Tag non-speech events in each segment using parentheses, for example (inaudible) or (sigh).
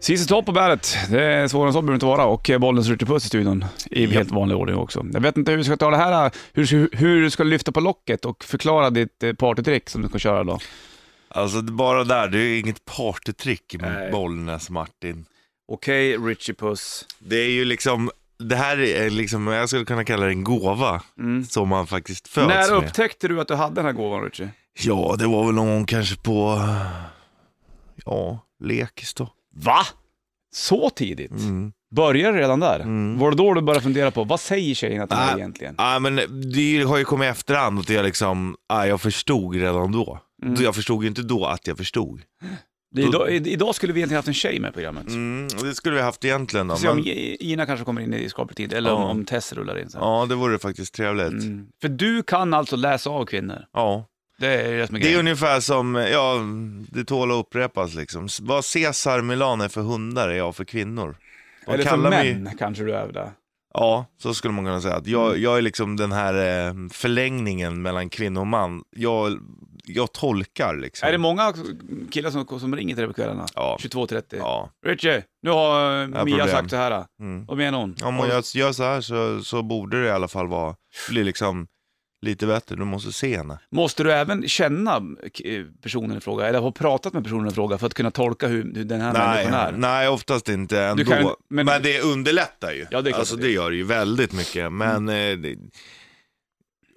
ZZ Top på bandet. Det är svårare än så behöver det inte vara. Och eh, Bollnäs Ritchie Puss i studion i helt vanlig ordning också. Jag vet inte hur du ska ta det här, hur, du- hur du ska lyfta på locket och förklara ditt eh, partytrick som du ska köra idag. Alltså det- bara där, det är ju inget partytrick Nej. mot Bollnäs Martin. Okej Ritchie Puss. Det är ju liksom, det här är liksom, jag skulle kunna kalla det en gåva som man faktiskt föds När med. upptäckte du att du hade den här gåvan Ritchie? Ja, det var väl någon gång kanske på, ja, lekis då. Va? Så tidigt? Mm. Började det redan där? Mm. Var det då du började fundera på, vad säger tjejen att det är Nej. egentligen? Ja, men det har ju kommit i efterhand att jag liksom, ja, jag förstod redan då. Mm. Jag förstod ju inte då att jag förstod. Det är idag, i- idag skulle vi egentligen haft en tjej med i programmet. Mm, och det skulle vi haft egentligen då. Se om Men, I- Ina kanske kommer in i skaplig tid, eller om, Ja. om Tess rullar in sen. ja, det vore faktiskt trevligt. Mm. För du kan alltså läsa av kvinnor. Ja. Det är det som är Det är grejen. ungefär som, ja, det tål att upprepas liksom. S- Vad Cesar Milan är för hundar är jag för kvinnor. De Eller för kallar mig- män Mm. kanske du är där. Ja, så skulle man kunna säga. Att jag, jag är liksom den här eh, förlängningen mellan kvinna och man. Jag, jag tolkar liksom. Är det många killar som, som ringer till dig på kvällarna? Ja. 22.30. Ja. Richie, nu har eh, Mia problem. sagt så här. Mm. Vad menar hon? Om man gör, gör så här så, så borde det i alla fall vara, bli liksom lite bättre. Du måste se henne. Måste du även känna eh, personen i fråga, eller ha pratat med personen i fråga för att kunna tolka hur, hur den här människan är? Nej, nej, oftast inte ändå. kan- men- men... det underlättar ju. Ja, det är klart alltså att det det Mm. gör det ju väldigt mycket. Men, eh, det...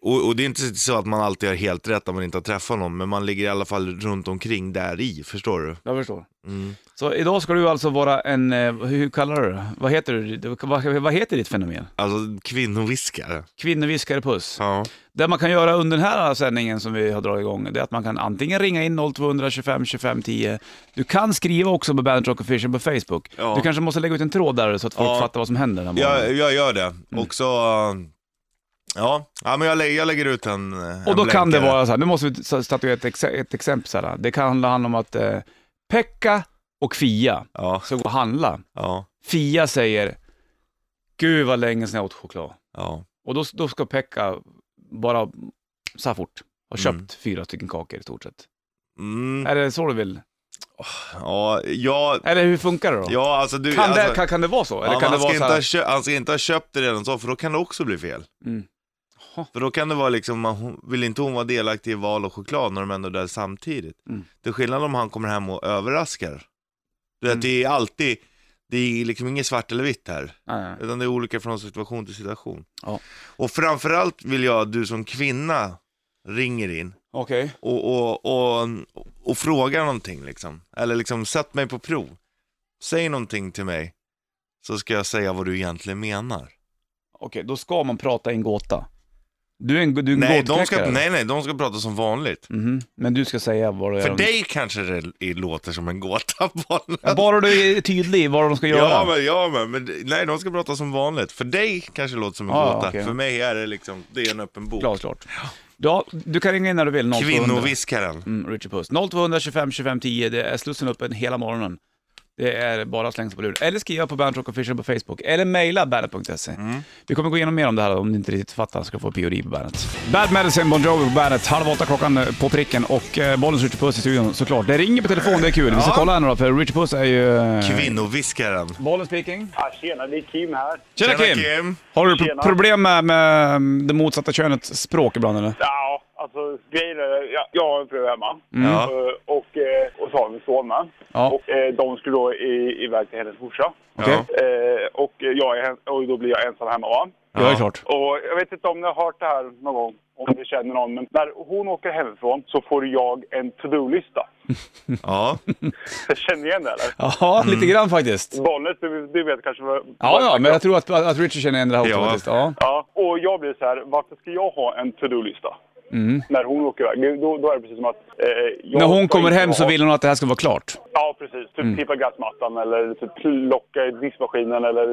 Och, och det är inte så att man alltid har helt rätt om man inte har träffat någon, men man ligger i alla fall runt omkring där i, förstår du? Jag förstår. Mm. Så idag ska du alltså vara en, eh, hur kallar du det? Vad heter, du? Vad, vad heter ditt fenomen? Alltså kvinnoviskare. Kvinnoviskarepuss. Ja. Det man kan göra under den här sändningen som vi har dragit igång, det är att man kan antingen ringa in 0200 25 25 10. Du kan skriva också på Bandit Rock Official på Facebook. Ja. Du kanske måste lägga ut en tråd där så att folk Ja. fattar vad som händer den här morgonen. Jag, jag gör det. Mm. Och så, eh, ja, ja men jag, lä- jag lägger ut en eh, Och då en kan det länkare. vara så här, nu måste vi sa- statuera ett, ex- ett exempel så här. Det kan handla handla om att eh, Pekka och Fia Ja, ska gå och handla. ja, Fia säger, gud vad länge sedan jag åt choklad. ja. Och då, då ska Pekka bara så här fort ha köpt Mm. fyra stycken kakor i stort sett. Mm, Är det så du vill? ja, ja, Eller hur funkar det då? ja, alltså du... Kan, alltså... det, kan, kan det vara så? Eller Ja, kan det men han, ska vara inte så ha här, kö- han ska inte ha köpt det redan så, för då kan det också bli fel. Mm. Jaha. För då kan det vara liksom, att hon, vill inte hon vara delaktig i val och choklad när de ändå är där samtidigt? Mm. Det är skillnad om han kommer hem och överraskar. Du vet, Mm. Det är alltid, det är liksom inget svart eller vitt här, Nej, nej. utan det är olika från situation till situation. Ja. Och framförallt vill jag att du som kvinna ringer in Okej. och, och, och, och frågar någonting liksom. Eller liksom, sätt mig på prov. Säg någonting till mig, så ska jag säga vad du egentligen menar. Okej, då ska man prata i en gåta. Du är en, du är en Nej de, gåtknäckare. ska, nej, nej, de ska prata som vanligt. Mhm. Men du ska säga vad du För dig kanske det är- låter som en gåta, barnen. Bara du är tydlig vad de ska göra. Ja, men, ja men, men det- nej, de ska prata som vanligt. För dig kanske det låter som en Ja, gåta, okej. för mig är det liksom, det är en öppen bok. Glasklart. Ja, du kan ringa in när du vill. 0200. Kvinnoviskaren. Mm, Richard Puss. 0200 25 25 10. Det är slussen öppen hela morgonen. Det är bara att slänga sig på luren. Eller skriva på Bandit Rock Official på Facebook. Eller mejla bandet.se. Vi kommer gå igenom mer om det här om ni inte riktigt fattar. Ska få POD på bandet. Bad Medicine, Bon Jovi på bandet. Halv åtta klockan på pricken och eh, bollen Richard Puss i studion såklart. Det ringer på telefon, det är kul. Vi ska Ja. kolla här nu då, för Richard Puss är ju... eh, Kvinnoviskaren. Bollen speaking. Ja, tjena, det är Kim här. Tjena, Tjena, Kim. Kim. Har du pro- Tjena. problem med, med mm, det motsatta könets språk ibland eller? Ja, alltså grejen är, jag, jag har en fru hemma. Ja. Eh, Och, eh, och så har vi en son med. Mm. Ja. Och eh, de skulle då i, iväg till hennes morsa. Okej. Ja. Eh, och, jag är, hem- och då blir jag ensam hemma va. Ja, det är Ja. klart. Och jag vet inte om ni har hört det här någon gång, om ni känner någon. Men när hon åker hemifrån så får jag en to-do-lista. (laughs) (laughs) Ja. Känner ni igen det eller? Ja, Mm. lite grann faktiskt. Bollnäs, du, du vet kanske vad... Ja, ja, men jag tror att, att Richard känner igen det här också Ja. faktiskt. Ja. Ja, och jag blir så här, varför ska jag ha en to-do-lista? När hon åker iväg. Det- Då, då är det precis som att... Eh, Mm. jag När hon ska kommer inte hem så ha- vill Mm. hon att det här ska vara klart. Ja, precis. Typ tippa gräsmattan eller typ plocka i diskmaskinen eller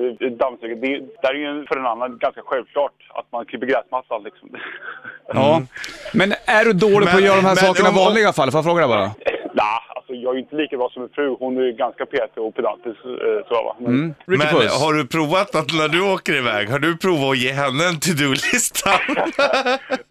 dammsuga. Det, det här är ju för en annan ganska självklart att man klipper gräsmattan liksom. (laughs) Ja. Men är du dålig på att Men- göra de här men sakerna i om- om- vanliga fall? Får jag fråga dig bara? Nej, alltså jag Jag är ju inte lika bra som min fru. Hon är ju ganska petig och pedantisk. eh, Så, va? Men, Mm. Ricky Men Puss. har du provat att när du åker iväg, har du provat att ge henne en to-do-lista? (laughs)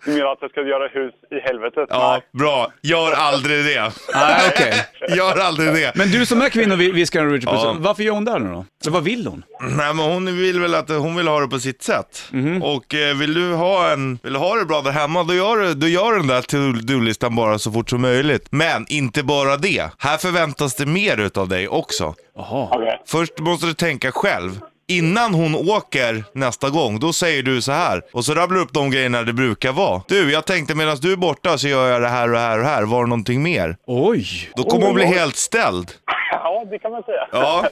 Du menar att jag ska göra hus i helvetet? ja, Nej. bra. Gör aldrig det. Nej, okej. Gör aldrig det. Men du som är kvinnoviskaren Richard Puss, Ja. varför gör hon där nu då? Eller vad vill hon? Nej, men hon vill väl att hon vill ha det på sitt sätt. Och eh, vill du ha en, vill du ha det bra där hemma, då gör, du- då gör den där to-do-listan bara så fort som möjligt. Men inte bara det. Här förväntas det mer utav dig också. Jaha. Okej. Först måste du tänka själv. Innan hon åker nästa gång, då säger du så här. Och så rabblar du upp de grejerna det brukar vara. Du, jag tänkte medan du är borta så gör jag det här och det här och det här. Var det någonting mer? Oj! Då kommer hon bli Oj. helt ställd. Ja, det kan man säga. Ja,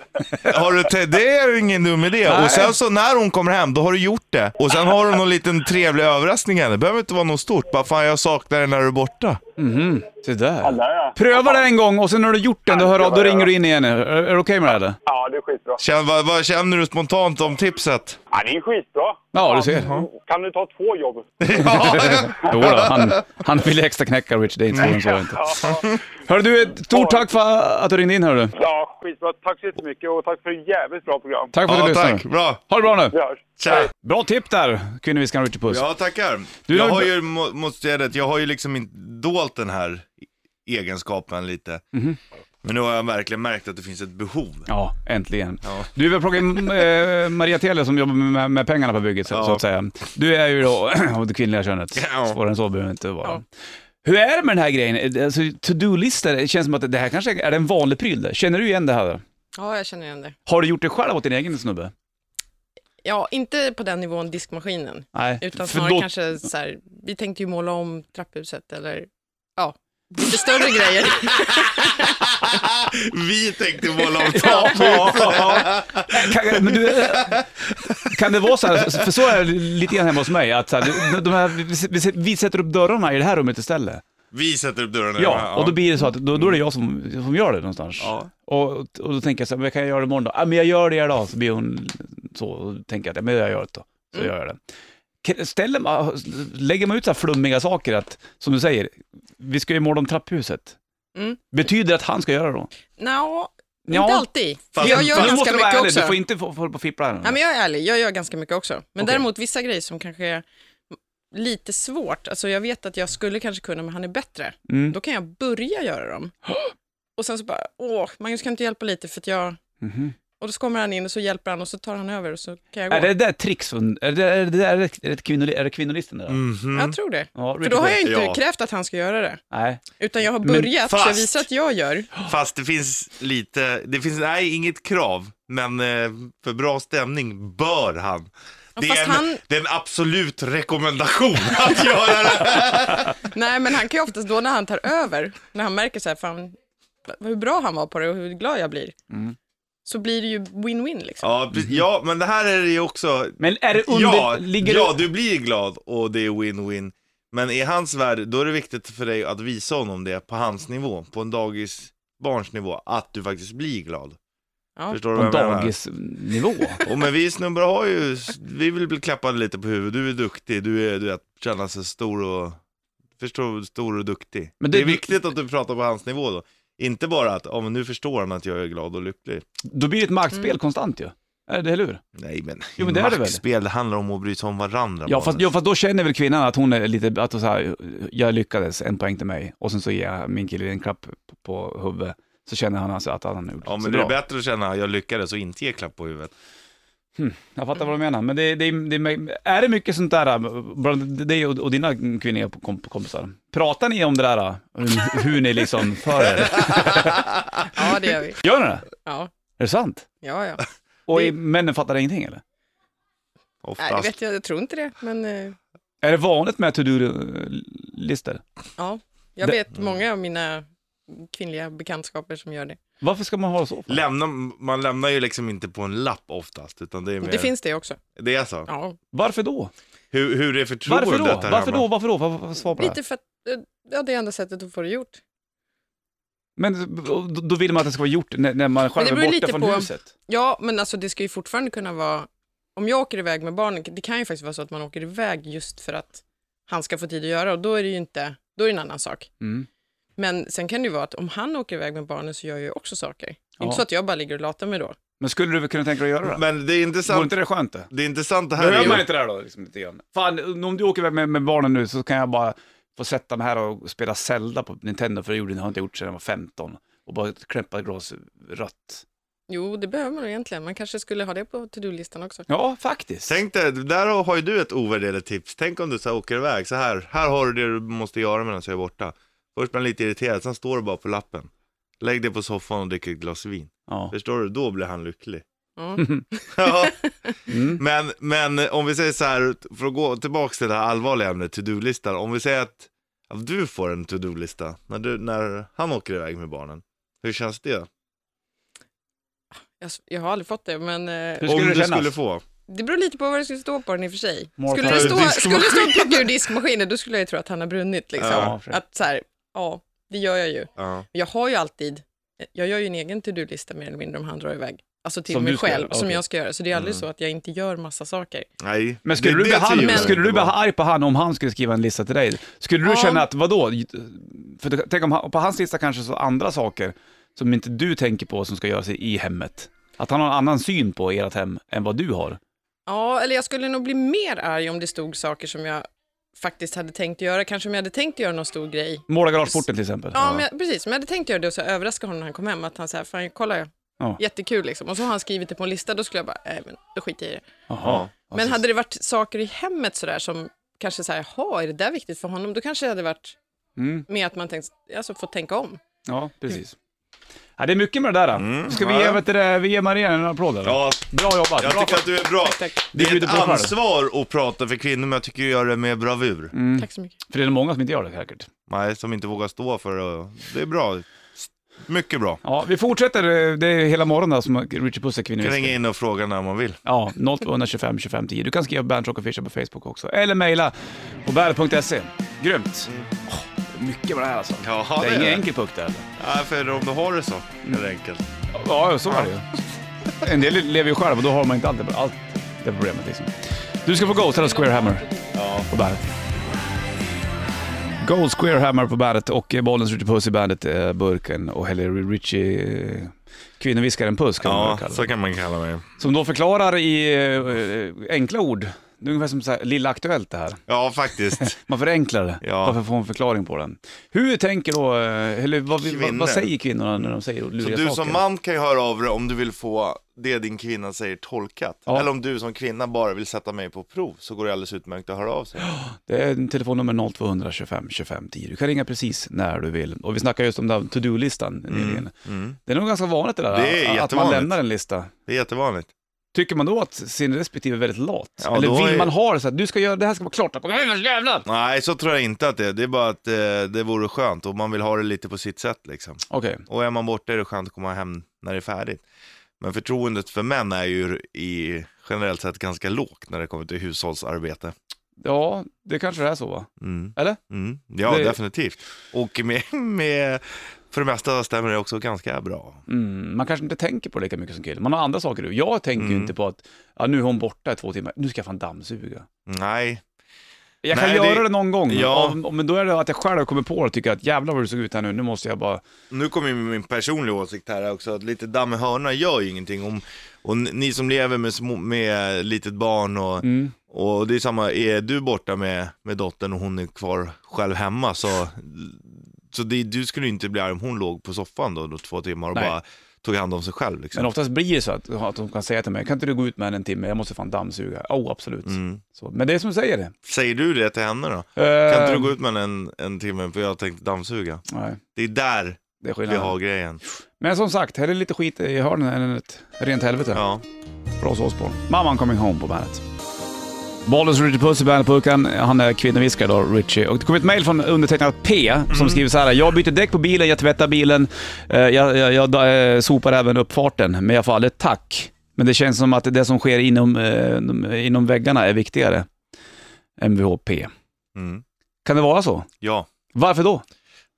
har du te- det är ju ingen dum idé. Nej. Och sen så när hon kommer hem, då har du gjort det. Och sen har du någon liten trevlig överraskning henne. Det behöver inte vara något stort. Bara fan, jag saknar dig när du är borta. Se Ja, där. där, ja. Pröva det en gång och sen när du har gjort den, då, hör, av- då ringer du in igen. Är, är det okej med det här, eller? Ja, det är skitbra. Känn, vad, vad känner du spontant om (laughs) tipset? Ja, det är skitbra. Ja, du ser. Fan, Kan du ta två jobb? Ja, Jo då, han, han vill extra knäcka Rich, det är inte svårare än så. är det inte. Ja, Hör du, ett stort tack för att du ringde in, hör du. ja, skitbra. Tack så jättemycket och tack för ett jävligt bra program. Tack för att ja du tack. lyssnade. Bra. Ha det bra nu. Vi hörs. Tja. Bra tipp där, kvinnoviskaren Richard Puss. Ja, tackar. Du, jag då- har ju, må- måste jag säga det, jag har ju liksom inte dolt den här egenskapen lite. Mhm. Men nu har jag verkligen märkt att det finns ett behov. Ja, äntligen. Ja. Du, vi har plockat in eh, Maria Tele som jobbar med, med pengarna på bygget, så, Ja. så att säga. Du är ju då (clears throat) av det kvinnliga könet. Ja. Svårare än så behöver det inte vara. Hur är det med den här grejen? Alltså, To-do-listor, det känns som att det här kanske är är det en vanlig pryl. där? Känner du igen det här? Ja, jag känner igen det. Har du gjort det själv åt din egen snubbe? Ja, inte på den nivån diskmaskinen, Nej. utan Eh, För snarare då- kanske så här, vi tänkte ju måla om trapphuset eller ja, lite större (laughs) grejer. Vi tänkte måla (laughs) om Ja, taket. ja, ja. Kan, men du, eh, kan det vara så här, för så är det lite grann hemma hos mig, att så här, de här, vi, vi sätter upp dörrarna i det här rummet istället. Vi sätter upp dörren. Ja, och då blir det så att då, då är det jag som, som gör det någonstans. Ja. Och, och då tänker jag så här, men kan jag göra det imorgon då? Ja, men jag gör det idag, så blir hon så, och tänker att, ja, men jag gör det då. Så Mm. gör jag det. Kan- Ställer man, lägger man ut så här flummiga saker, att, som du säger, vi ska ju måla om trapphuset. Mm. Betyder det att han ska göra det då? Nå, Ja. inte alltid. Fast- jag gör fast- Nu måste ganska du vara mycket ärlig, också. du får inte få- få hålla på och fippla här nu. Ja, men jag är ärlig, jag gör ganska mycket också. Men Okej. däremot vissa grejer som kanske är lite svårt, alltså jag vet att jag skulle kanske kunna, men han är bättre. Mm. Då kan jag börja göra (gasps) dem. Och sen så bara, åh, Magnus kan inte hjälpa lite för att jag... Mhm. Och så kommer han in och så hjälper han och så tar han över och så kan jag gå. Är det där tricks? från- Är det, är det, är det, är det, kvinnoli, är det kvinnolisten? Där? Mhm. Jag tror det. Ja, Mm. För då har jag inte Ja. krävt att han ska göra det, Nej. utan jag har börjat, så jag fast- visar att jag gör. Fast det finns lite, det finns, nej inget krav, men eh, för bra stämning bör han. Det är, fast en, han- det är en absolut rekommendation (laughs) att göra det. Nej, men han kan ju oftast då när han tar över, när han märker så här, fan, hur bra han var på det och hur glad jag blir, så blir det ju win-win liksom. Ja, precis. ja, men det här är det ju också, Men är det under... ja, ligger ja, det- du blir glad och det är win-win. Men i hans värld, då är det viktigt för dig att visa honom det på hans nivå, på en dagis barns nivå, att du faktiskt blir glad. Ja. Förstår du på vad jag menar? dagisnivå. Och men vi snubbar har ju, vi vill bli klappade lite på huvudet, du är duktig, du är, du vet, känna sig stor och, förstår, stor och duktig. Men det- det, är viktigt att du pratar på hans nivå då. Inte bara att, ja men nu förstår han att jag är glad och lycklig. Då blir det ett maktspel konstant ju. Är det, eller hur? Nej men, Jo, men det är det väl? maktspel, det handlar om att bry sig om varandra. Ja Magnus. fast, ja, fast då känner väl kvinnan att hon är lite, att hon så här, jag lyckades, en poäng till mig, och sen så ger jag min kille en klapp på, på huvudet, så känner han alltså att han har gjort Ja så men det är bra. bättre att känna att jag lyckades och inte ge klapp på huvudet. Jag fattar vad du menar, men det, det, det, är det mycket sånt där, bland dig och, och dina kvinnliga kom- kompisar? Pratar ni om det där, hur, hur ni liksom för er? ja, det gör vi. Gör ni det? Ja, Är det sant? ja, ja. Och i, männen fattar ingenting eller? Nej, det Oftast. vet jag, jag tror inte det, men eh, Är det vanligt med to-do-listor? ja, jag Det- vet många av mina kvinnliga bekantskaper som gör det. Varför ska man ha det så? för? Lämna, man lämnar ju liksom inte på en lapp oftast, utan det är mer, Det finns det också. det är så. Ja. Varför då? Hur, hur är förtroendet Varför då? här Varför hemma? då? Varför då? Varför, varför svar på det här? Lite för att, eh, ja, det är enda sättet att få det gjort. Men och då- då vill man att det ska vara gjort när, när man själv det är beror ju borta lite från på- huset. Ja, men alltså det ska ju fortfarande kunna vara, om jag åker iväg med barnen, det kan ju faktiskt vara så att man åker iväg just för att han ska få tid att göra och då är det ju inte, då är det en annan sak. Mm. Men sen kan det ju vara att om han åker iväg med barnen så gör jag ju också saker. Det är Ja. inte så att jag bara ligger och latar mig då. Men skulle du väl kunna tänka dig att göra det? Men det är Vore intressant, inte det skönt det? det är intressant det här är Behöver man ju... inte det här då? Liksom, lite grann? Fan, om du åker iväg med, med barnen nu så kan jag bara få sätta mig här och spela Zelda på Nintendo, för det gjorde, har jag inte gjort sedan jag var 15. Och bara klämpa ett glas rött. Jo, det behöver man nog egentligen. Man kanske skulle ha det på to-do-listan också. Ja, faktiskt. Tänk dig, där har ju du ett ovärderligt tips. Tänk om du så här åker iväg, så här, här har du det du måste göra medan jag är borta. Först blir man lite irriterad, sen står det bara på lappen. Lägg dig på soffan och drick ett glas vin. Ja. Förstår du? Då blir han lycklig. Ja. (laughs) Ja. Mm. Men, men om vi säger så här, för att gå tillbaka till det här allvarliga ämnet, to-do-listan. Om vi säger att, att du får en to-do-lista när, du, när han åker iväg med barnen. Hur känns det? Jag, jag har aldrig fått det, men eh, Hur skulle om det du kännas? skulle få. det beror lite på vad det skulle stå på den i och för sig. More Skulle det, fun. stå, Diskmaskin. skulle det stå plocka ur (laughs) diskmaskinen, då skulle jag ju tro att han har brunnit. Liksom. Ja, för sig. att så här, ja, det gör jag ju. Ja. Jag har ju alltid, jag gör ju en egen to-do-lista mer eller mindre om han drar iväg. Alltså till Som mig du ska själv, göra, som okej. Mm. jag ska göra. Så det är aldrig så att jag inte gör massa saker. Nej. Men skulle Det- du, det bli, han, tvivlar jag skulle du inte bli på. arg på han om han skulle skriva en lista till dig? Skulle du Ja. känna att, vadå? För det- tänk om han, på hans lista kanske så andra saker som inte du tänker på som ska göras i, i hemmet. Att han har en annan syn på ert hem än vad du har. Ja, eller jag skulle nog bli mer arg om det stod saker som jag faktiskt hade tänkt göra. Kanske om jag hade tänkt göra någon stor grej. Måla garageporten till exempel. Ja, Men jag, precis. Men jag hade tänkt göra det och så överraska honom när han kom hem. Att han säger, fan kolla jag. Ja. Jättekul liksom. Och så har han skrivit det på en lista, då skulle jag bara, nej men då skiter jag i det. Jaha. Men hade det varit saker i hemmet sådär som kanske såhär, jaha, är det där viktigt för honom? Då kanske det hade varit Mm. med att man tänkt, alltså får tänka om. Ja, precis. Ja, det är mycket med det där. Då. Ska vi ge, Mm. ja. vet du, det, vi ger Maria en applåd eller? Ja, Bra jobbat. jag Bra. tycker att du är bra. Tack, Det Du är bjuder ett på själv. ansvar att prata för kvinnor, men jag tycker jag gör det med bravur. Mm. tack så mycket. För det är många som inte gör det säkert. Nej, som inte vågar stå för det. Det är bra. Mycket bra. Ja, vi fortsätter. eh, Det är hela morgonen där som Richard Puss är kan ringa kvinnoviskare. in och fråga när man vill. Ja, 0225 25 10. Du kan skriva Bandrock och Fisher på Facebook också. Eller mejla på bandet.se. Grymt. Åh, mycket med det här alltså. Ja, det det är är det. ingen enkel puck där. Nej, för om du har det så, är det enkelt. Ja, så var det ju. (laughs) En del lever ju själv och då har man inte allt det, allt det problemet liksom. Du ska få Ghost eller Square Hammer på bandet. Gold Square Hammer på bandet och eh, Bollens Ritchie Puss i bandet, eh, burken och Helly Ritchie, eh, kvinnoviskaren Puss kan man Ja, väl kalla det. så kan man kalla mig. Som då förklarar i eh, enkla ord. Det är ungefär som så här, Lilla Aktuellt det här. Ja, faktiskt. Man förenklar det, Ja. varför får en förklaring på den. Hur tänker då, eh, eller vad, vi- vad, Kvinnor. vad säger kvinnorna när de säger (laughs) Så luriga du saker? som man kan ju höra av dig om du vill få det din kvinna säger tolkat. Ja. Eller om du som kvinna bara vill sätta mig på prov, så går det alldeles utmärkt att höra av sig. Det är telefonnummer 0200 25 25 10. Du kan ringa precis när du vill. Och vi snackade just om den to-do-listan nyligen. Det är nog ganska vanligt det där, Mm. att- Det är att man jättevanligt. lämnar en lista. Det är jättevanligt. Tycker man då att sin respektive är väldigt lat? Ja, eller då vill är- man ha det så att du ska göra det här ska vara klart? Okej, Nej, så tror jag inte att det är. Det är bara att eh, det vore skönt och man vill ha det lite på sitt sätt liksom. Och är man borta är det skönt att komma hem när det är färdigt. Men förtroendet för män är ju i, generellt sett ganska lågt när det kommer till hushållsarbete. ja, det kanske det är så va? Mm. Eller? Mm. Ja, Det- definitivt. Och med, med, för det mesta stämmer det också ganska bra. Mm, man kanske inte tänker på det lika mycket som kille. Man har andra saker. Jag tänker Mm. ju inte på att ja, nu är hon borta i två timmar, nu ska jag fan dammsuga. Nej, Jag kan Nej, göra det... det- någon gång, Ja. Om- om- men då är det att jag själv kommer på det och tycker att jävlar vad du såg ut här nu, nu måste jag bara... nu kommer ju min personliga åsikt här också, att lite damm i hörna gör ju ingenting. Om, och ni som lever med, små, med litet barn och, och det är samma, är du borta med, med dottern och hon är kvar själv hemma så, så det, du skulle ju inte bli arg om hon låg på soffan då, då två timmar och Nej. bara tog hand om sig själv. Liksom. Men oftast blir det så att, att de kan säga till mig, kan inte du gå ut med henne en timme, jag måste fan dammsuga. Oh, absolut. Mm. Så, men det är som du säger det. Säger du det till henne då? Kan Ehm. inte du gå ut med henne en, en timme för jag tänkte dammsuga? Eh, Nej, Det är där det är vi skillnaden. har grejen. Men som sagt, här är lite skit i hörnen än ett rent helvete. Ja. Bra Osbourne. Mamman coming home på bandet. Bollens Richie Puss i bandetburken. Han är kvinnoviskare då, Richie. Och det kom ett mejl från undertecknad P som skriver så här. Jag byter däck på bilen, jag tvättar bilen, eh, jag, jag, jag eh, sopar även uppfarten, men jag får aldrig ett tack. Men det känns som att det som sker inom, eh, inom väggarna är viktigare. MVHP. Mm. Kan det vara så? ja, Varför då?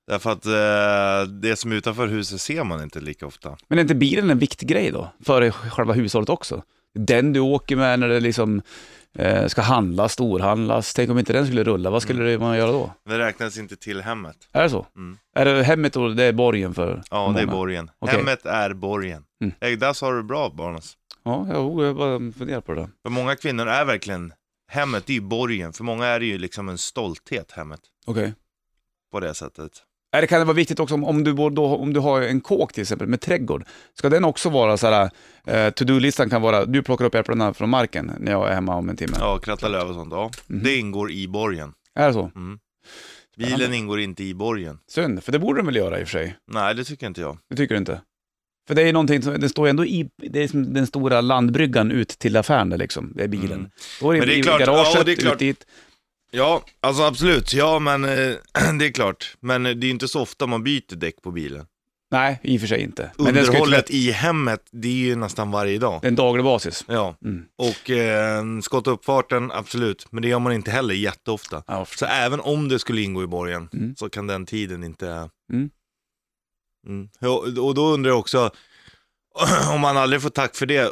därför att eh, det som är utanför huset ser man inte lika ofta. Men är inte bilen en viktig grej då? För själva hushållet också? Den du åker med när det liksom eh, ska handlas, storhandlas. Tänk om inte den skulle rulla, vad skulle man göra då? Det räknas inte till hemmet. Är det så? Mm. Är det hemmet och det är borgen för Ja, för det är många? borgen. Okej. Hemmet är borgen. Mm. Mm. Där sa du bra, Barnas. Ja, jo, jag bara funderar på det. där. För många kvinnor är verkligen, hemmet är ju borgen. För många är det ju liksom en stolthet, hemmet. Okej. På det sättet. Är det kan det vara viktigt också om, om, du bor då, om du har en kåk till exempel med trädgård. Ska den också vara så här, eh, to-do-listan kan vara, du plockar upp äpplena från marken när jag är hemma om en timme. Ja, kratta löv och sånt. Ja, Mhm. det ingår i borgen. Är det så? Bilen Spännande. ingår inte i borgen. Synd, för det borde de väl göra i och för sig. Nej, det tycker inte jag. Det tycker du inte? För det är ju någonting som, den står ju ändå i, det är som den stora landbryggan ut till affären där liksom, det är bilen. Mm. Då är det, Men det är i klart, garaget, ja, det är klart. ut dit. Ja, alltså absolut. Ja, men eh, (clears throat) det är klart. Men eh, det är ju inte så ofta man byter däck på bilen. Nej, i och för sig inte. Men den ska ju Underhållet tvättas, i hemmet, det är ju nästan varje dag. det är en daglig basis. Ja, Mm. och eh, skotta upp farten, absolut. Men det gör man inte heller jätteofta. Ja, Så även om det skulle ingå i borgen Mm. så kan den tiden inte... Mm. Mm. Ja, Och då undrar jag också, (clears throat) om han aldrig får tack för det,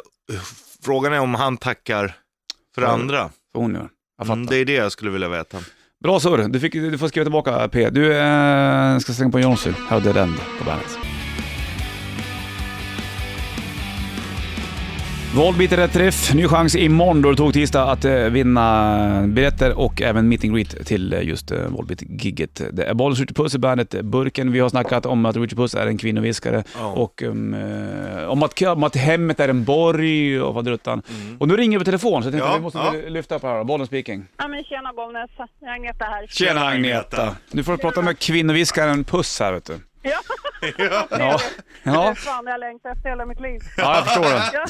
frågan är om han tackar för Ja, andra. så hon gör. Jag fattar. Mm, det är det jag skulle vilja veta. Bra surr, du, fick- du får skriva tillbaka P. Du eh, ska slänga på Jonzy, här har Dead End på bandet. Volbeat är rätt träff. Ny chans imorgon då det tog tisdag att eh, vinna biljetter och även meet and greet till eh, just eh, Volbeat-gigget. Det är Bollens Richard Puss i bandet eh, Burken. Vi har snackat om att Richard Puss är en kvinnoviskare Ja. och um, eh, om, att, om att hemmet är en borg och vad druttan. Och nu ringer vi på telefon så jag tänkte Mm. Ja, att vi måste ja. väl lyfta upp här då. Bollen speaking. Ja, men tjena Bollnäs, det är Agneta här. Tjena Agneta! Nu får du prata med kvinnoviskaren Puss här vet du. Ja, Ja, det är ja, fan jag längtar efter hela mitt liv. ja jag förstår det. Ja.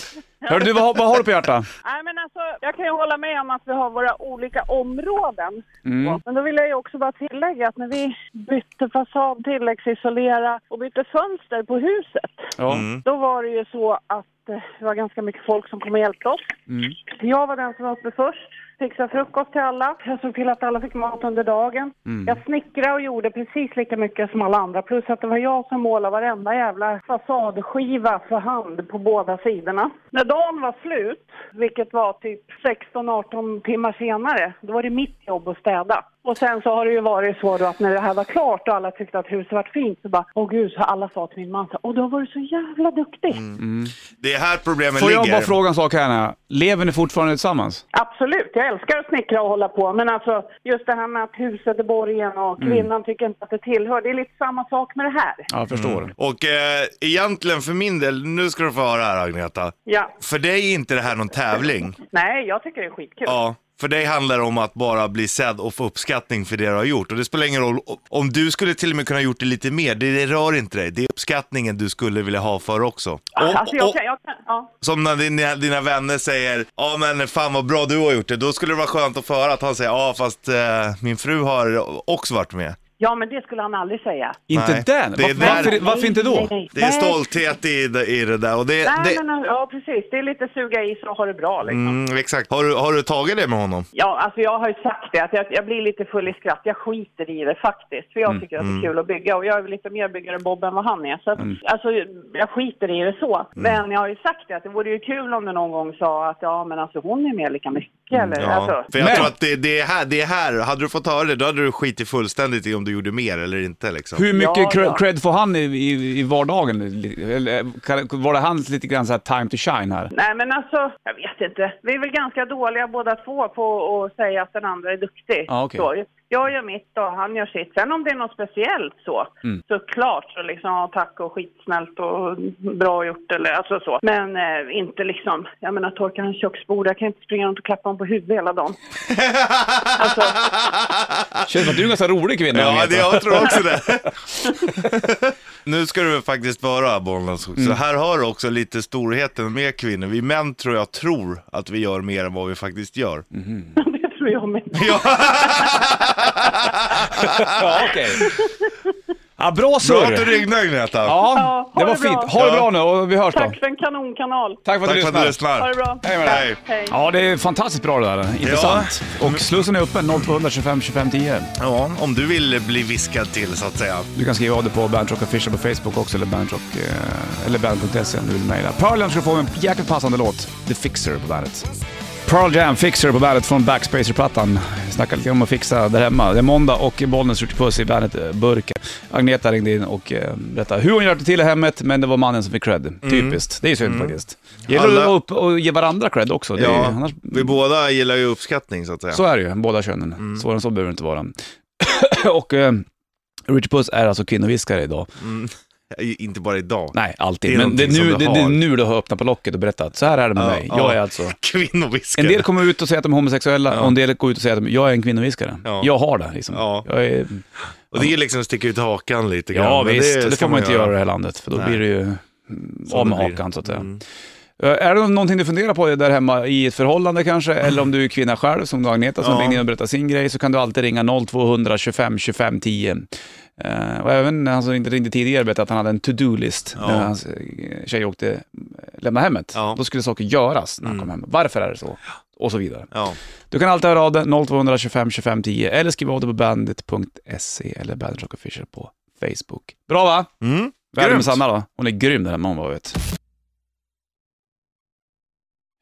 Hörru du, vad, har- vad har du på hjärtat? Nej, men alltså, jag kan ju hålla med om att vi har våra olika områden. Mm. Men då vill jag ju också bara tillägga att när vi bytte fasad, tilläggsisolera och bytte fönster på huset, Ja. då var det ju så att eh, det var ganska mycket folk som kom och hjälpte oss. Mm. Jag var den som var uppe först, fixade frukost till alla. Jag såg till att alla fick mat under dagen. Jag snickrade och gjorde precis lika mycket som alla andra. Plus att det var jag som målade varenda jävla fasadskiva för hand på båda sidorna. När dagen var slut, vilket var typ 16-18 timmar senare, då var det mitt jobb att städa. Och sen så har det ju varit så då att när det här var klart och alla tyckte att huset var fint så bara, åh gud, så alla sa till min man så här, åh du har varit så jävla duktig. Det är här problemet Får ligger. jag bara fråga en sak här nu? Lever ni fortfarande tillsammans? Absolut, jag älskar att snickra och hålla på. Men alltså just det här med att huset är borgen och Mm. kvinnan tycker inte att det tillhör. Det är lite samma sak med det här. Ja, jag förstår. Och eh, egentligen för min del, nu ska du få höra här Agneta. Ja. För dig är inte det här någon tävling. Nej, jag tycker det är skitkul. Ja, för dig handlar det om att bara bli sedd och få uppskattning för det du har gjort. Och det spelar ingen roll, om du skulle till och med kunna gjort det lite mer, det, det rör inte dig. Det är uppskattningen du skulle vilja ha för också. Och, Alltså jag och, kan, jag kan, ja. som när dina, dina vänner säger, ja men fan vad bra du har gjort det. Då skulle det vara skönt att få höra att han säger, ja fast eh, min fru har också varit med. ja, men det skulle han aldrig säga. Inte Nej, den? det är Varför, där- varför, varför inte Nej, då? nej, nej. Det är Nej. stolthet i, det- i det där. Och det, Nej, Eh, det, men ja, precis. Det är lite suga i så har det bra liksom. mm, exakt. Har du, har du tagit det med honom? Ja, alltså jag har ju sagt det, att jag, jag blir lite full i skratt. Jag skiter i det faktiskt, för Mm, jag tycker att det är kul att bygga och jag är väl lite mer byggare än Bob än vad han är. Så Mm. att, alltså, jag skiter i det så. Men jag har ju sagt det, att det vore ju kul om du någon gång sa att ja, men alltså hon är med lika mycket eller Ja, alltså. för jag Men- tror att det, det, är här, det är här, hade du fått höra det, då hade du skitit fullständigt i om du gjorde mer eller inte liksom. Hur mycket Ja, cre- ja. cred får han i, i, i vardagen? Eller, kan- var det hans lite grann så här time to shine här? Nej men alltså, jag vet inte. Vi är väl ganska dåliga båda två på att säga att den andra är duktig. Ja, okej. så, jag gör mitt och han gör sitt. Sen om det är något speciellt så, Mm. såklart så liksom ja, tack och skitsnällt och bra gjort eller alltså så. Men eh, inte liksom, jag menar torka hans köksbord, jag kan inte springa runt och klappa honom på huvudet hela dagen. (laughs) alltså, Känns som att du är en ganska rolig kvinna (laughs) Ja, Agneta. det, jag tror också det. (laughs) nu ska du väl faktiskt vara Bollnäs också. Mm. Här har du också lite storheten med kvinnor. Vi män tror jag tror att vi gör mer än vad vi faktiskt gör. Mm. (laughs) det tror jag med. Ja. ja, okej. Ja, bra Bra att surr! du ringde Agneta. Ja, Ja, ha det var det bra. fint. Ha det bra nu och vi hörs då. Tack för en kanonkanal. Tack för att du Tack för att lyssnade. du lyssnar. Ha det bra. Hej med dig. Hej. Hej. Ja, det är fantastiskt bra det där. Intressant. Och slussen är öppen 0200 25 25 10. Ja, om du vill bli viskad till så att säga. Du kan skriva av dig på Bandrock Official på Facebook också, eller bandrock, eh, eller band.se om du vill mejla. Pearl Jam ska få en jäkligt passande låt, The Fixer på bandet. Pearl Jam, Fixer på bandet från Backspacer-plattan. Vi Snackade lite om att fixa där hemma. Det är måndag och Bollnäs ryckte puss i bandet-burken. Agneta ringde in och eh, berättade hur hon hjälpte till i hemmet, men det var mannen som fick cred. Typiskt. Det är synd faktiskt. Gäller det att Mm. Alla- vara upp och ge varandra cred också. Det är, Ja, annars... vi båda gillar ju uppskattning så att säga. Så är det ju, båda könen. Mm. Svårare än så behöver det inte vara. (coughs) och eh, Richard Puss är alltså kvinnoviskare idag. Inte bara idag. Nej, alltid. Det är men det är, någonting nu, som du det, det är har. nu du har öppnat på locket och berättat. Så här är det med Ja, mig. ja. Jag är alltså... Kvinnoviskare. En del kommer ut och säger att de är homosexuella Ja. och en del går ut och säger att de, jag är en kvinnoviskare. Ja. Jag har det liksom. Ja. Jag är, Och det är liksom att sticka ut hakan lite grann. ja men visst, det, det ska får man inte göra i det här landet för då Nej. blir det ju Så av med det blir. hakan så att säga. Mm. Eh, Är det någonting du funderar på där hemma i ett förhållande kanske, eller om du är kvinna själv, som du Agneta som Ja. ringde in och berättade sin grej, så kan du alltid ringa 0200 25 25 10. Eh, och även han som inte ringde tidigare berättade att han hade en to-do-list Ja. när hans eh, tjej åkte, eh, lämnade hemmet. Ja. Mm. Då skulle saker göras när han kom hem. Varför är det så? Och så vidare. Ja. Du kan alltid höra av dig 0200 25 25 10 eller skriva av dig på bandet.se eller Bandet Rock Official på Facebook. Bra va? Mm. Världen med Grymt. Sanna då. Hon är grym den här mamman vad jag vet.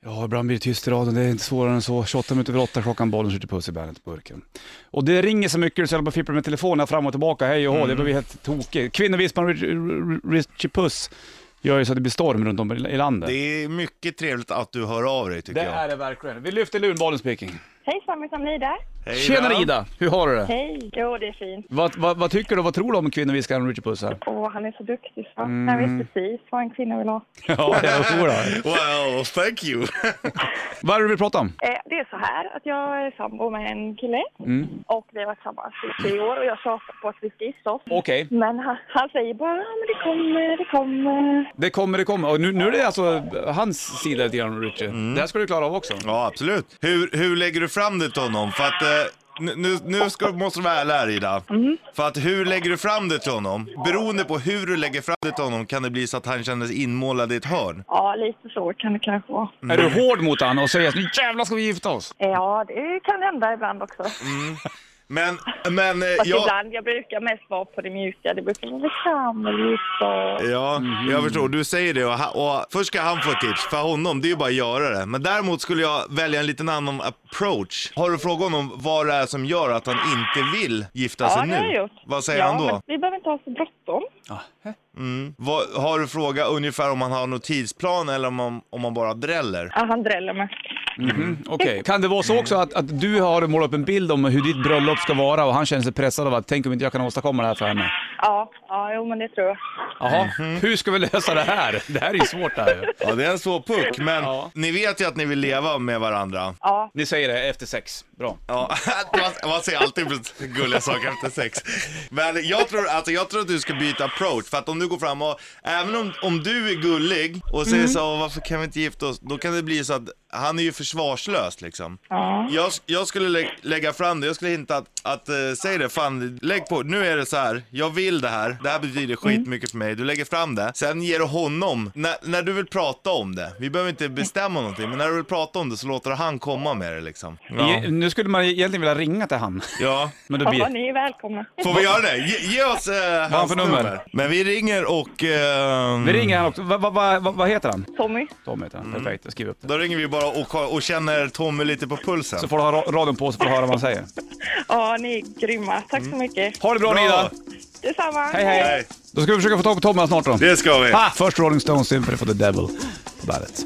Ja, ibland blir det tyst i radion. Det är inte svårare än så. 28 minuter över 8 klockan, bollen skjuter puss i bandet på burken. Och det ringer så mycket så jag håller på och fipplar med telefonen fram och tillbaka. Hej och hå, det Mm. blir helt tokigt. Kvinnovispan Richie Puss gör ju så att det blir storm runt om i landet. Det är mycket trevligt att du hör av dig tycker Det jag. är det verkligen. Vi lyfter luren, bollen speaking. Hej Sami Samni där. Hej, Tjenare Ida, hur har du det? Hej. Jo, det är fint. Vad, vad, vad tycker du och vad tror du om kvinnoviskaren Richie Puss här? Åh, han är så duktig. Så. Han vet precis vad en kvinna vill ha. Ja, jag tror (laughs) Wow, thank you. (laughs) Vad är det du vill prata om? Eh, det är så här att jag är sambo med en kille Mm. och vi har varit tillsammans i tre år och jag tjatar på att vi ska gifta oss. Okej, Men han, han säger bara "Ja, men det kommer, det kommer. det kommer, det kommer. Och nu, nu är det alltså hans sida lite grann, Richie. Mm. Det här ska du klara av också. Ja, absolut. Hur, hur lägger du fram det till honom? För att eh, nu- nu, nu ska, måste du vara ärlig här Ida. För att hur lägger du fram det till honom? Beroende på hur du lägger fram det till honom kan det bli så att han känner sig inmålad i ett hörn. Ja, lite så kan det kanske vara. Är du hård mot han och säger att nu jävlar ska vi gifta oss? Eh, Ja, det kan hända ibland också. Fast Men, men eh, jag, ibland, jag brukar mest vara på det mjuka. Det brukar vara vi kan väl gifta oss." ja, jag förstår, du säger det och, ha- och först ska han få ett tips. För honom, det är ju bara att göra det. Men däremot skulle jag välja en liten annan approach. Har du frågat honom vad det är som gör att han inte vill gifta Ja, sig det har jag nu? gjort. Vad säger ja, han då? Men vi behöver inte ha så bråttom. Vad, har du frågat ungefär om han har någon tidsplan eller om han, om han bara dräller? Ja, han dräller med. Mhm, Okej, kan det vara så också att, att du har målat upp en bild om hur ditt bröllop ska vara och han känner sig pressad av att tänk om inte jag kan åstadkomma det här för henne? Ja, ja, jo men det tror jag. Jaha, Mhm. hur ska vi lösa det här? Det här är ju svårt det här ju. Ja, det är en svår puck, men Ja. ni vet ju att ni vill leva med varandra. Ja, Ni säger det efter sex, bra. Ja, (laughs) man, man säger alltid gulliga saker efter sex. Men jag tror, alltså, jag tror att du ska byta approach, för att om du går fram och, även om, om du är gullig och säger så "Åh, varför kan vi inte gifta oss? Då kan det bli så att han är ju försvarslös liksom. ja, Jag, jag skulle lä lägga fram det, jag skulle hinta att, att eh, säg det, fan lägg på, nu är det så här. jag vill det här, det här betyder skitmycket för mig, du lägger fram det, sen ger du honom, när, när du vill prata om det, vi behöver inte bestämma någonting, men när du vill prata om det så låter du han komma med det liksom. Ja, E- nu skulle man egentligen vilja ringa till han, ja. men då ja blir ni är välkomna. får vi göra det? Ge, ge oss eh, hans för nummer. nummer? Men vi ringer och... Eh, Vi ringer han också. Va- va- va- va- vad heter han? Tommy, Tom heter Mm. han, perfekt. Jag skriver upp det. Då ringer vi bara och, ko- och känner Tommy lite på pulsen. Så får du ha ra- radion på så får du höra vad han säger. ja ni är grymma. Tack så mycket. Ha det bra, Bra. Nida! Detsamma. Mm. Hej, hej! Nej, Då ska vi försöka få tag på Tom här snart då. det ska vi. Ha! Först Rolling Stones, Symphony for the Devil på bandet.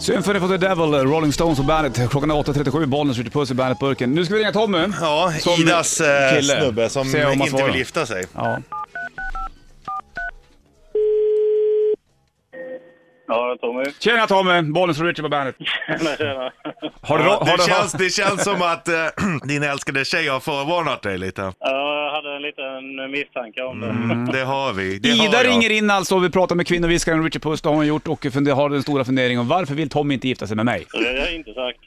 Symphony for the Devil, Rolling Stones och bandet. Klockan är 8.37, bollen skjuter puss i bandet-burken. Nu ska vi ringa Tommy. Ja, Som Idas eh, kille. snubbe som Se om han inte svarar. vill gifta sig. Ja. Ja, Tommy. Tjena Tommy, bollen skjuter Richard på bandet. Tjena, tjena. Har du, ra- Ja, har det, du, känns, det känns som att eh, (clears throat) din älskade tjej har förvarnat dig lite. Mm, Ja, jag hade en liten misstanke om det. Det har vi. Det har Ida jag. ringer in alltså och vi pratar med kvinnoviskaren Richard Puss, det har hon gjort och funder- har den stora funderingen om varför vill Tommy inte gifta sig med mig? Så det har jag inte sagt.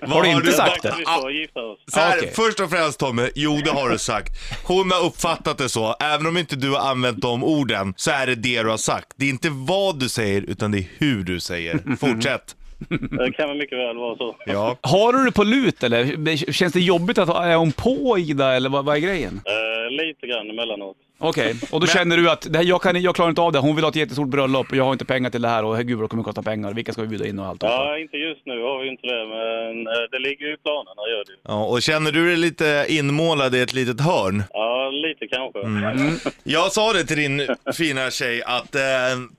Har du har inte du- sagt det? Tack. gifta oss. Så här, Okej. Först och främst Tommy, jo det har du sagt. Hon har uppfattat det så, även om inte du har använt de orden så är det det du har sagt. Det är inte vad du säger utan det är hur du säger. Fortsätt. Ah. Det kan väl mycket väl vara så. Ja. Har du det på lut eller? Känns det jobbigt att är hon på Ida eller vad, vad är grejen? Eh, lite grann emellanåt. Okej, och då känner du att det här, jag, kan, jag klarar inte av det, hon vill ha ett jättestort bröllop och jag har inte pengar till det här och herregud vad det kommer kosta pengar, vilka ska vi bjuda in och allt. Ja, inte just nu har vi ju inte det, men eh, det ligger ju i planerna gör det ju. ja, och känner du dig lite inmålad i ett litet hörn? Ja, lite kanske. Mm. Jag sa det till din fina tjej att, eh,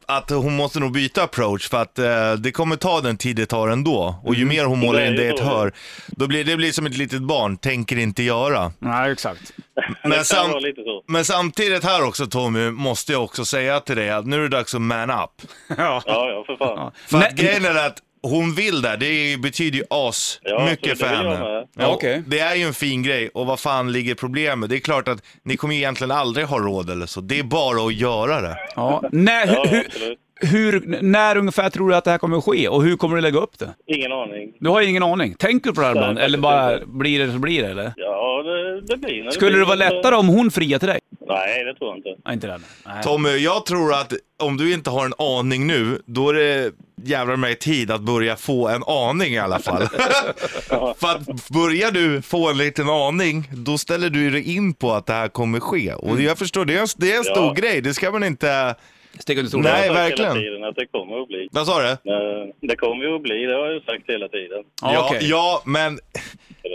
att hon måste nog byta approach för att eh, det kommer ta den tid det tar ändå. Och ju mer hon målar Det är in ju det i ett så. hörn, då blir det blir som ett litet barn, tänker inte göra. Nej, exakt. det Men kan sam- vara lite så. Men samtidigt här också Tommy, måste jag också säga till dig att nu är det dags att man up. (laughs) Ja. Ja, ja, för fan. För Nej, att grejen är att hon vill det, det betyder ju as Ja, mycket så för det vill jag henne. med. Ja, okej. Det är ju en fin grej och vad fan ligger problemet? Det är klart att ni kommer ju egentligen aldrig ha råd eller så, det är bara att göra det. ja. När, Ja, hur, absolut. hur, när ungefär tror du att det här kommer att ske och hur kommer du lägga upp det? Ingen aning. Du har ju ingen aning. Tänker du på det här Nej, ibland eller faktiskt bara inte. blir det så blir det eller? Ja, det, det blir när det Skulle blir. det vara lättare om hon friar till dig? Nej, det tror jag inte. Nej, inte den. Nej. Tommy, jag tror att om du inte har en aning nu, då är det jävlar mig tid att börja få en aning i alla (laughs) fall. För att börjar du få en liten aning, då ställer du dig in på att det här kommer ske. Och jag förstår, det är en, det är en stor Mm. Ja. grej, det ska man inte... Stick under stolen. Nej, jag har sagt verkligen. hela tiden att det kommer att bli. Vad sa du? Men Det kommer ju att bli, det har jag ju sagt hela tiden. Ja, ja, okej. ja, men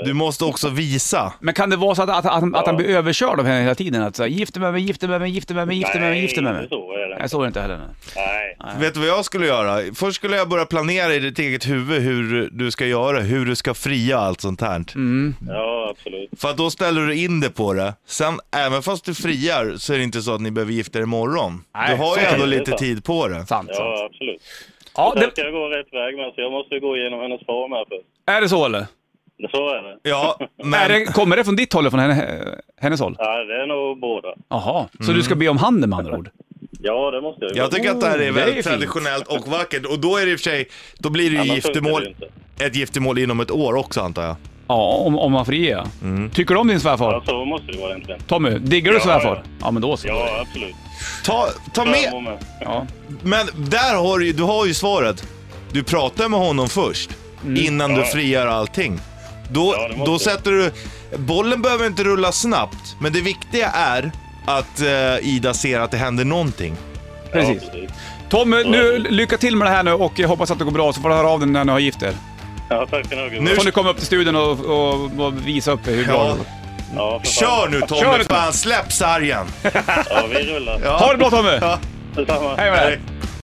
du måste också visa. Men kan det vara så att, att, att, han- att han Ja. blir överkörd av henne hela tiden? Att säga gifte med mig, gifte med mig, gifte med mig, gifte med mig, gifte med Nej, mig. inte så är det. Nej, så är det inte heller. nej. Nej. Vet du vad jag skulle göra? Först skulle jag börja planera i ditt eget huvud hur du ska göra, hur du ska fria och allt sånt här. Ja, absolut. För att då ställer du in det på det. Sen, även fast du friar, så är det inte så att ni behöver gifta er imorgon. Nej, du har ju så är ändå det. lite tid på det. Sant, sant. Ja, absolut. Ja, Sen ska det, jag gå rätt väg med, så jag måste ju gå igenom hennes far med först. är det så eller? Så är det. (laughs) Ja, Är men det, kommer det från ditt håll eller från henne, hennes håll? Ja, det är nog båda. Jaha, så Mm. du ska be om handen med andra ord? Ja, det måste jag ju. jag tycker att det här Oh, det är är väldigt fint. traditionellt och vackert. Och då är det i och för sig, då blir det ju Annars funkar det giftermål, ju inte. ett giftermål inom ett år också antar jag. Ja, om, om man friar ja. Mm. Tycker du om din Ja, svärfar? så måste det vara egentligen. Tommy, diggar du Ja, svärfar? ja. Ja, men då så. Ja, absolut. Ta, ta med, Jag med. Ja. men där har du ju, du har ju svaret. Du pratar med honom först, innan du friar allting. Då, Ja, det måste då jag. sätter du... Bollen behöver inte rulla snabbt, men det viktiga är att eh, Ida ser att det händer någonting. Precis. Ja, precis. Tommy, nu, lycka till med det här nu och jag hoppas att det går bra så får du höra av dig när ni har gift er. Ja, tack ska ni ha gubbar. Nu- Får ni komma upp till studion och, och, och visa upp hur bra Ja. det går. Ja, för fan. Kör nu Tommy! Kör nu, Tommy. Fan, släpp sargen! Ja, vi rullar. Ha det bra Tommy! Detsamma. Hej med dig!